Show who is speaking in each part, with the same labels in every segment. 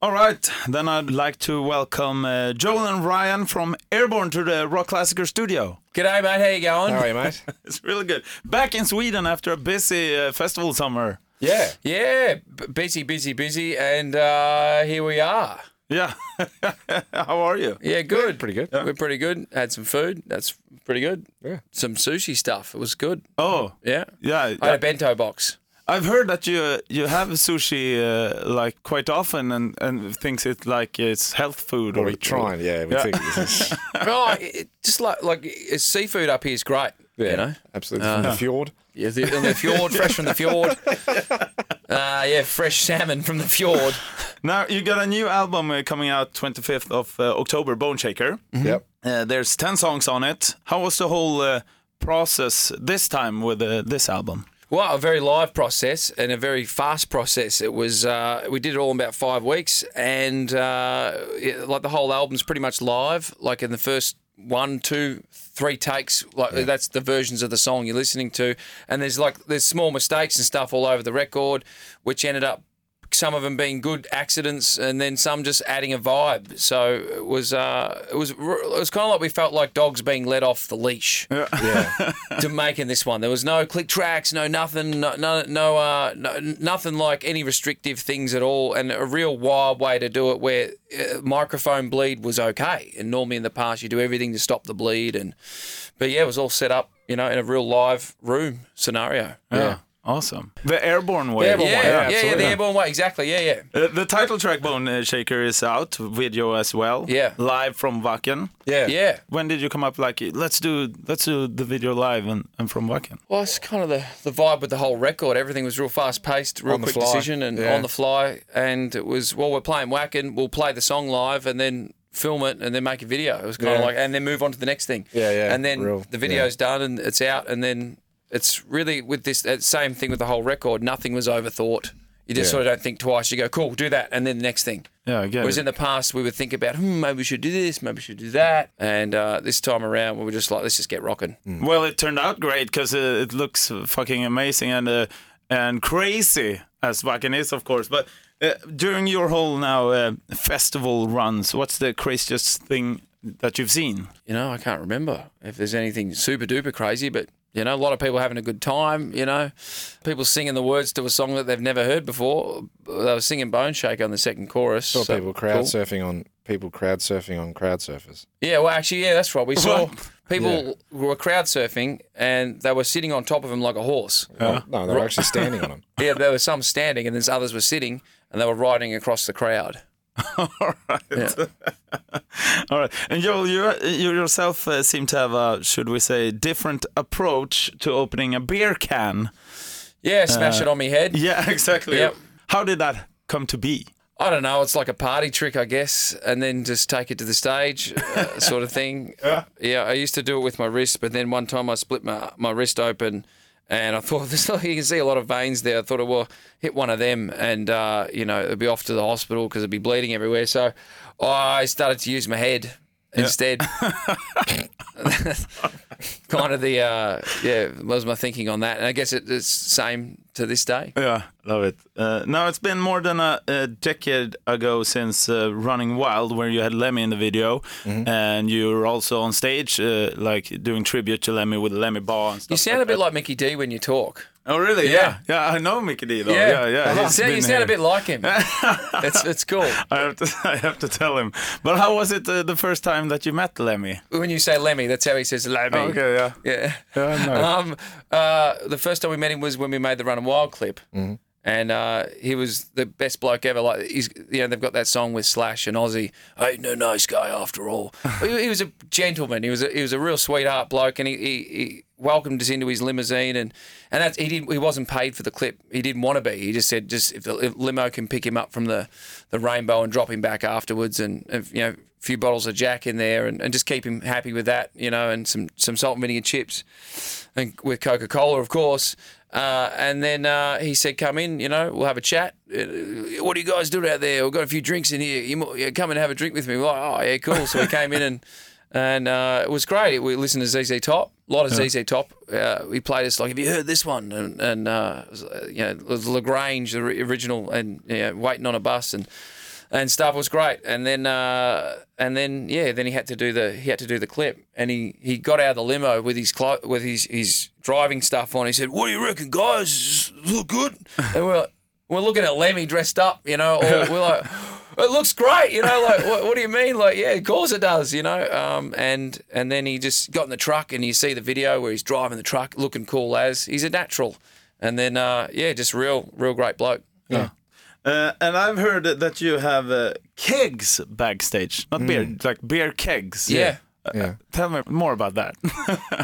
Speaker 1: All right, then I'd like to welcome uh, Joel and Ryan from Airborne to the Rock Classicer studio.
Speaker 2: G'day, mate. How you going?
Speaker 3: How are you, mate?
Speaker 1: It's really good. Back in Sweden after a busy uh, festival summer.
Speaker 3: yeah.
Speaker 2: Yeah, b- busy, busy, busy, and uh, here we are.
Speaker 1: Yeah. How are you?
Speaker 2: Yeah, good.
Speaker 3: pretty good.
Speaker 2: We're pretty good. Had some food. That's pretty good.
Speaker 3: Yeah.
Speaker 2: Some sushi stuff. It was good.
Speaker 1: Oh,
Speaker 2: Yeah.
Speaker 1: yeah.
Speaker 2: I had a bento box.
Speaker 1: I've heard that you you have sushi uh, like quite often and, and thinks it like it's health food.
Speaker 3: Well, we try and, yeah, we
Speaker 1: Yeah.
Speaker 3: think this is,
Speaker 2: oh, it, it- just like like it's seafood up here is great. You know. Uh,
Speaker 3: absolutely from the fjord.
Speaker 2: Yeah, the, on the fjord, fresh from the fjord. Uh, yeah, fresh salmon from the fjord.
Speaker 1: Now you got a new album uh, coming out 25th of uh, October, Bone Shaker.
Speaker 2: mm-hmm.
Speaker 3: Yep.
Speaker 1: Uh, there's 10 songs on it. How was the whole uh, process this time with uh, this album?
Speaker 2: Well, a very live process and a very fast process. It was uh, we did it all in about five weeks, and uh, it- like the whole album's pretty much live. Like in the first one, two, three takes, like that's the versions of the song you're listening to, and there's like there's small mistakes and stuff all over the record, which ended up some of them being good accidents and then some just adding a vibe. So it was uh, it was it was kind of like we felt like dogs being let off the leash to making this one. There was no click tracks, no nothing, no no, no, uh, no nothing like any restrictive things at all, and a real wild way to do it where uh, microphone bleed was okay. And normally in the past you do everything to stop the bleed, and but yeah, it was all set up, you know, in a real live room scenario.
Speaker 1: Awesome. The Airborne Way.
Speaker 2: Airborne way. Yeah, yeah, yeah,
Speaker 1: absolutely.
Speaker 2: the airborne way, exactly. Yeah, yeah.
Speaker 1: Uh, the title track Bone uh, Shaker is out, video as well.
Speaker 2: Yeah.
Speaker 1: Live from Wacken.
Speaker 3: Yeah.
Speaker 2: Yeah.
Speaker 1: When did you come up like let's do let's do the video live and, and from Wacken?
Speaker 2: Well, it's kind of the, the vibe with the whole record. Everything was real fast paced, real
Speaker 3: On the
Speaker 2: Oh, quick
Speaker 3: fly.
Speaker 2: decision, and
Speaker 3: Yeah.
Speaker 2: on the fly. And it was well, we're playing Whacken, we'll play the song live, and then film it, and then make a video. It was kind
Speaker 3: Yeah.
Speaker 2: of like, and then move on to the next thing.
Speaker 3: Yeah, yeah,
Speaker 2: And then
Speaker 3: real,
Speaker 2: the video's done, and it's out, and then it's really with this that same thing with the whole record. Nothing was overthought. You just
Speaker 3: Yeah.
Speaker 2: sort of don't think twice. You go, cool, do that, and then the next thing.
Speaker 1: Yeah, I get
Speaker 2: Whereas
Speaker 1: it.
Speaker 2: in the past, we would think about, hmm, maybe we should do this, maybe we should do that. And uh, this time around, we were just like, let's just get rocking.
Speaker 1: Well, it turned out great because uh, it looks fucking amazing and uh, and crazy as Wacken is, of course. But uh, during your whole now uh, festival runs, what's the craziest thing that you've seen?
Speaker 2: you know, I can't remember if there's anything super duper crazy, but you know, a lot of people having a good time. You know, people singing the words to a song that they've never heard before. They were singing Bone Shaker on the second chorus.
Speaker 3: Saw
Speaker 2: so-
Speaker 3: people crowd
Speaker 2: cool.
Speaker 3: surfing on people crowd surfing on crowd surfers.
Speaker 2: Yeah, well, actually, yeah, that's right. We saw
Speaker 1: Well,
Speaker 2: people were crowd surfing and they were sitting on top of him like a horse.
Speaker 3: No, they were actually standing on them.
Speaker 2: Yeah, there were some standing and there's others were sitting and they were riding across the crowd.
Speaker 1: All right. All right. And Joel, you, you yourself uh, seem to have a, should we say, different approach to opening a beer can.
Speaker 2: Yeah,
Speaker 3: Uh,
Speaker 2: smash it on me head.
Speaker 1: Yeah, exactly.
Speaker 2: Yep.
Speaker 1: How did that come to be?
Speaker 2: I don't know. It's like a party trick, I guess, and then just take it to the stage, uh, sort of thing. Yeah. I used to do it with my wrist, but then one time I split my, my wrist open, and I thought there's like, you can see a lot of veins there. I thought, well, hit one of them, and uh, you know it'd be off to the hospital because it'd be bleeding everywhere. So I started to use my head instead. kind of the uh, yeah was my thinking on that, and I guess it, it's same to this day.
Speaker 1: Yeah, love it. Uh, now, it's been more than a, a decade ago since uh, Running Wild, where you had Lemmy in the video, and you were also on stage, uh, like doing tribute to Lemmy with Lemmy Bar and stuff.
Speaker 2: You sound a bit like Mickey D when you talk.
Speaker 1: Oh, really?
Speaker 2: Yeah.
Speaker 1: Yeah, I know Mickey D, though. Oh, Yeah, yeah.
Speaker 2: You
Speaker 1: he's
Speaker 2: sound, you
Speaker 1: been
Speaker 2: sound a
Speaker 1: here.
Speaker 2: bit like him. it's, it's cool.
Speaker 1: I have to, I have to tell him. But how was it uh, the first time that you met Lemmy?
Speaker 2: When you say Lemmy, that's how he says Lemmy.
Speaker 1: Okay, yeah.
Speaker 2: Oh, Yeah.
Speaker 1: Yeah, no.
Speaker 2: Um, uh, the first time we met him was when we made the Run and Wild clip. And uh, he was the best bloke ever. Like he's, you know, they've got that song with Slash and Ozzy. Hey, no nice guy after all. he, he was a gentleman. He was a, he was a real sweetheart bloke, and he, he, he welcomed us into his limousine. And and that's he didn't he wasn't paid for the clip. He didn't want to be. He just said just if the if limo can pick him up from the, the rainbow and drop him back afterwards, and if, you know a few bottles of Jack in there, and, and just keep him happy with that, you know, and some some salt and vinegar chips and with Coca Cola, of course. Uh, and then uh, he said, "Come in, you know, we'll have a chat. Uh, What are you guys doing out there? We've got a few drinks in here. You mo- yeah, come and have a drink with me." We're like, "Oh yeah, cool." So we came in and and uh, it was great. We listened to ZZ Top, a lot of ZZ Top. Uh, he played us like, "Have you heard this one?" And, and uh, it was, uh, you know, it was Lagrange, the ri- original, and you know, waiting on a bus and and stuff was great. And then uh, and then yeah, then he had to do the he had to do the clip, and he, he got out of the limo with his clo- with his his driving stuff on. He said, "What do you reckon, guys? Does this Look good?" And we're like- we're looking at Lemmy dressed up, you know, or we're like. It looks great, you know. Like, what, what do you mean? Like, yeah, of course it does, you know. Um, and and then he just got in the truck, and you see the video where he's driving the truck, looking cool as he's a natural. And then, uh, yeah, just real, real great bloke. Yeah,
Speaker 1: Uh, and I've heard that- that you have uh, kegs backstage, not beer, like beer kegs. Uh,
Speaker 2: yeah.
Speaker 3: Yeah.
Speaker 1: Tell me more about that.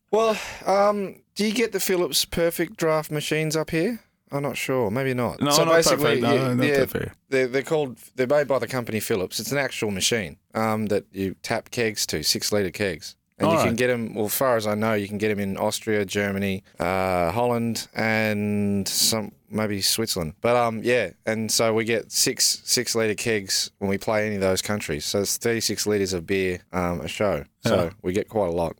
Speaker 3: Well, um, do you get the Philips Perfect Draft machines up here? I'm not sure. Maybe not.
Speaker 1: No,
Speaker 3: so
Speaker 1: not
Speaker 3: basically,
Speaker 1: perfect. No,
Speaker 3: you-
Speaker 1: not
Speaker 3: yeah,
Speaker 1: perfect.
Speaker 3: They're, they're called. They're made by the company Philips. It's an actual machine um, that you tap kegs to, six liter kegs, and you
Speaker 1: All
Speaker 3: can
Speaker 1: right.
Speaker 3: get them. Well, as far as I know, you can get them in Austria, Germany, uh, Holland, and some maybe Switzerland. But um, yeah, and so we get six six liter kegs when we play any of those countries. So it's thirty six liters of beer um, a show. So we get quite a lot.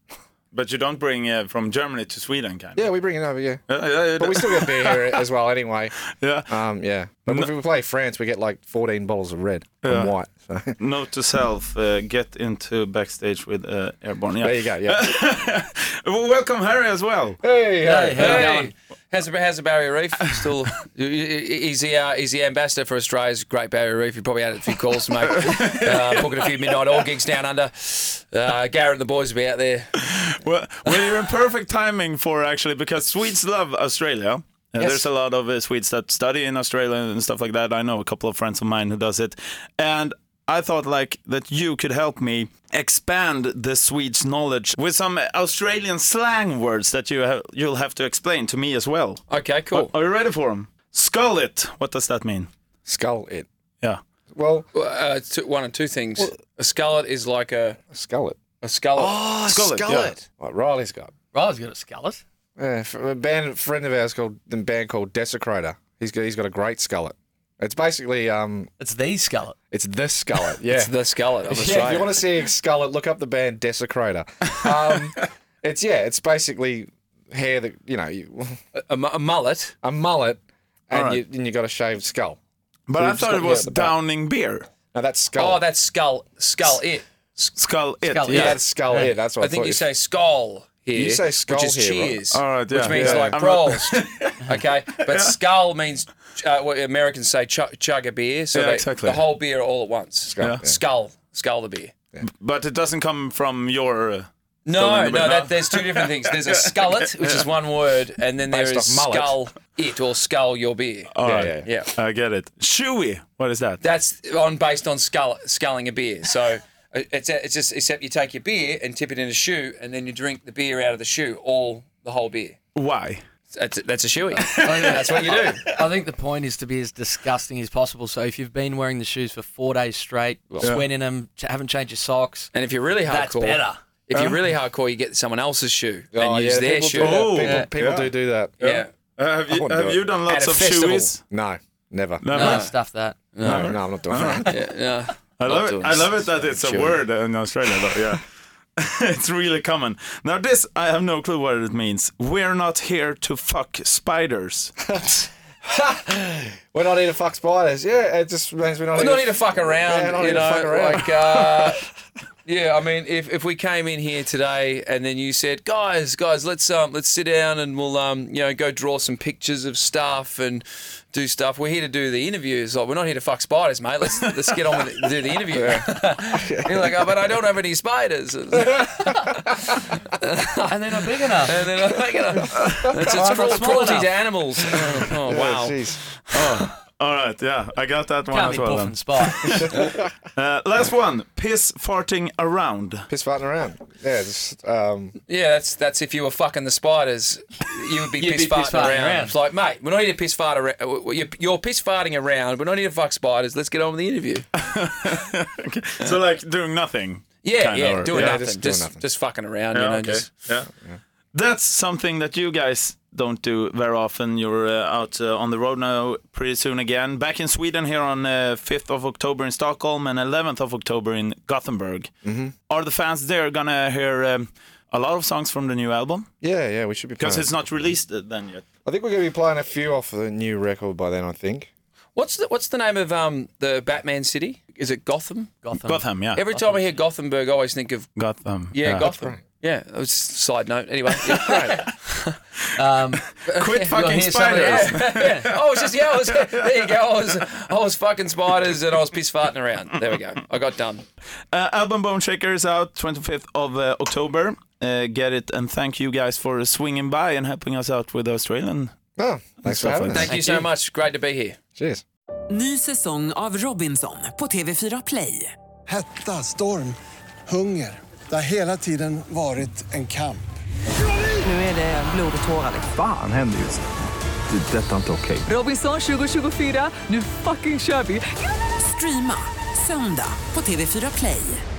Speaker 1: but you don't bring uh, from Germany to Sweden, kind of.
Speaker 3: Yeah, we bring it over. Yeah.
Speaker 1: Uh, yeah, yeah,
Speaker 3: But we still get beer here as well, anyway.
Speaker 1: yeah.
Speaker 3: Um, yeah. But if we play France, we get like 14 bottles of red and white. So
Speaker 1: Note to self: uh, get into backstage with uh, Airborne. Yeah.
Speaker 3: there you go. Yeah.
Speaker 1: Well, welcome Harry as well.
Speaker 3: hey,
Speaker 2: Hey, how you going? How's the, how's the Barrier Reef? Still, he's the uh, he's the ambassador for Australia's Great Barrier Reef. You probably had a few calls, mate. uh, booking a few midnight all gigs down under. Uh, Garrett and the boys will be out there.
Speaker 1: Well, well, you're in perfect timing for actually because Swedes love Australia. Uh,
Speaker 2: Yes.
Speaker 1: There's a lot of uh, Swedes that study in Australia and stuff like that. I know a couple of friends of mine who does it, and I thought like that you could help me expand the Swedes' knowledge with some Australian slang words that you ha- you'll have to explain to me as well.
Speaker 2: Okay, cool.
Speaker 1: Are you ready for them? Skull it. What does that mean?
Speaker 3: Skull it.
Speaker 1: Yeah.
Speaker 3: Well,
Speaker 2: Uh, two, one and two things. a scullet is like a
Speaker 3: skull it.
Speaker 2: a scullet. Oh,
Speaker 1: Skull it, yeah.
Speaker 3: Like Riley's got.
Speaker 4: Riley's got a skullet.
Speaker 3: Yeah, f- a band friend of ours called the band called Desecrator. He's got, he's got a great skullet. It's basically um,
Speaker 4: It's the skullet.
Speaker 3: it's this skullet. Yeah.
Speaker 2: it's the scullet. of
Speaker 3: Yeah, if you
Speaker 2: Australia.
Speaker 3: want to see a skullet, look up the band Desecrator. Um, it's yeah, it's basically hair that you know you,
Speaker 2: a, mu- a mullet.
Speaker 3: a mullet, and
Speaker 1: Alright.
Speaker 3: you and you got a shaved skull.
Speaker 1: But
Speaker 3: We've
Speaker 1: I
Speaker 3: just
Speaker 1: thought
Speaker 3: got
Speaker 1: it
Speaker 3: you
Speaker 1: was
Speaker 3: at the back.
Speaker 1: downing beer.
Speaker 3: No, that's skull.
Speaker 2: Oh, that's skull. Skull it.
Speaker 1: Skull it.
Speaker 4: Skull
Speaker 3: yeah,
Speaker 1: yeah.
Speaker 4: it.
Speaker 3: that's skull. Yeah, that's what I,
Speaker 2: I think
Speaker 3: thought
Speaker 2: you say skull here.
Speaker 3: You say skull
Speaker 2: which is
Speaker 3: here, right?
Speaker 2: cheers.
Speaker 1: All right, Oh, yeah.
Speaker 2: Which means
Speaker 1: Yeah.
Speaker 2: like
Speaker 1: I'm
Speaker 2: brawls. okay, but skull means uh, what Americans say chug, chug a beer, so
Speaker 1: Yeah,
Speaker 2: they,
Speaker 1: exactly.
Speaker 2: the whole beer all at once. Skull,
Speaker 1: Yeah.
Speaker 2: skull, skull the beer.
Speaker 1: But it doesn't come from your. Uh, Skull
Speaker 2: No,
Speaker 1: in the
Speaker 2: no,
Speaker 1: beer.
Speaker 2: that, there's two different things. There's a skullet, which is one word, and then there is
Speaker 3: Based off mullet.
Speaker 2: skull it or skull your beer.
Speaker 1: all right.
Speaker 3: yeah,
Speaker 2: yeah.
Speaker 1: I get it. Chewy. What is that?
Speaker 2: That's on based on skull, sculling a beer. So uh, it's it's just except you take your beer and tip it in a shoe, and then you drink the beer out of the shoe, all the whole beer.
Speaker 1: Why?
Speaker 2: That's that's a shoey.
Speaker 4: Oh, That's
Speaker 2: what you do.
Speaker 4: I think the point is to be as disgusting as possible. So if you've been wearing the shoes for four days straight, sweating them, ch- haven't changed your socks, uh,
Speaker 2: And if you're really hardcore,
Speaker 4: that's better.
Speaker 2: If you're really hardcore, you get someone else's shoe and
Speaker 3: Oh,
Speaker 2: use
Speaker 3: yeah,
Speaker 2: their
Speaker 3: people
Speaker 2: shoe.
Speaker 3: Do that.
Speaker 1: Oh,
Speaker 3: people
Speaker 1: yeah.
Speaker 3: people do do that.
Speaker 2: Yeah.
Speaker 1: Uh, have you,
Speaker 3: wouldn't do
Speaker 1: have
Speaker 3: it.
Speaker 1: you done lots
Speaker 2: At a
Speaker 1: of
Speaker 2: festival.
Speaker 1: chewies?
Speaker 3: No, never. No,
Speaker 1: No,
Speaker 4: No,
Speaker 1: man.
Speaker 4: stuff that.
Speaker 3: no, I'm not doing that.
Speaker 2: Yeah. yeah.
Speaker 1: I love it.
Speaker 2: doing
Speaker 1: I love it that it's a
Speaker 2: chewy.
Speaker 1: word in Australia, though. Yeah. it's really common. Now, this, I have no clue what it means. We're not here to fuck spiders.
Speaker 3: We're not here to fuck spiders. Yeah, it just means we're not.
Speaker 2: We
Speaker 3: here
Speaker 2: don't need to fuck around.
Speaker 3: Yeah, I don't
Speaker 2: you
Speaker 3: need to
Speaker 2: know,
Speaker 3: fuck around.
Speaker 2: like. Uh, Yeah, I mean, if, if we came in here today and then you said, guys, guys, let's um, let's sit down and we'll um, you know, go draw some pictures of stuff and do stuff. We're here to do the interviews. Like, we're not here to fuck spiders, mate. Let's let's get on with it, do the interview. You're like, oh, but I don't have any spiders. and then
Speaker 4: And they're not big enough.
Speaker 2: I'm like, oh, it's, it's
Speaker 4: not
Speaker 2: cruel-
Speaker 4: small
Speaker 2: cruelty
Speaker 4: enough.
Speaker 2: to animals. Oh, oh,
Speaker 3: Yeah,
Speaker 2: wow.
Speaker 3: jeez.
Speaker 1: All right. Yeah. I got that one
Speaker 4: Can't
Speaker 1: as
Speaker 4: be
Speaker 1: well.
Speaker 4: puff
Speaker 1: then.
Speaker 4: and spot.
Speaker 1: Uh, last one piss farting around.
Speaker 3: Piss farting around. Yeah, just um,
Speaker 2: Yeah, that's that's if you were fucking the spiders, you would be
Speaker 4: You'd
Speaker 2: piss
Speaker 4: be
Speaker 2: farting
Speaker 4: piss farting
Speaker 2: around.
Speaker 4: around.
Speaker 2: It's like, mate, we're not here to piss fart around. You're, you're piss farting around. We're not here to fuck spiders. Let's get on with the interview.
Speaker 1: So, like, doing nothing.
Speaker 2: Yeah,
Speaker 1: Kinda,
Speaker 2: yeah,
Speaker 1: or-
Speaker 2: doing
Speaker 1: yeah,
Speaker 2: nothing,
Speaker 3: just
Speaker 2: just
Speaker 3: doing
Speaker 2: just,
Speaker 3: nothing.
Speaker 2: fucking around.
Speaker 1: Yeah,
Speaker 2: you know,
Speaker 1: okay.
Speaker 2: just
Speaker 1: yeah. that's something that you guys don't do very often. You're uh, out uh, on the road now pretty soon again. Back in Sweden here on uh, 5th of October in Stockholm and 11th of October in Gothenburg. Are the fans there gonna hear um, a lot of songs from the new album?
Speaker 3: Yeah, yeah, we should be
Speaker 1: Because
Speaker 3: playing.
Speaker 1: it's not released uh, then yet.
Speaker 3: I think we're going to be playing a few off the new record by then, I think.
Speaker 2: What's the What's the name of um the Batman city? Is it Gotham?
Speaker 4: Gotham.
Speaker 1: Gotham, yeah.
Speaker 2: Every time I hear Gothenburg, I always think of
Speaker 1: Gotham.
Speaker 2: yeah, Gotham. Yeah, it was side note. Anyway, yeah,
Speaker 4: Um,
Speaker 1: Quit
Speaker 4: you'll
Speaker 1: fucking
Speaker 4: hear some of
Speaker 1: spiders.
Speaker 4: those.
Speaker 2: yeah. I was just yeah, I was, there you go. I was I was fucking spiders and I was piss farting around. There we go. I got done.
Speaker 1: Uh, album Bone Shaker is out 25th of uh, October. Uh, get it and thank you guys for swinging by and helping us out with Australian.
Speaker 3: Oh, thanks for
Speaker 1: Stuff
Speaker 3: having
Speaker 1: like
Speaker 3: us.
Speaker 2: Thank you so much. Great to be here.
Speaker 3: Cheers.
Speaker 5: Ny säsong av Robinson på TV4 Play.
Speaker 6: Hetta, storm, hunger. Det har hela tiden varit en kamp.
Speaker 7: Nu är det blod och tårar. liksom.
Speaker 8: Fan händer just nu. Det. är Detta är inte okej.
Speaker 5: Robinson 2024, nu fucking kör vi! Streama söndag på TV4 Play.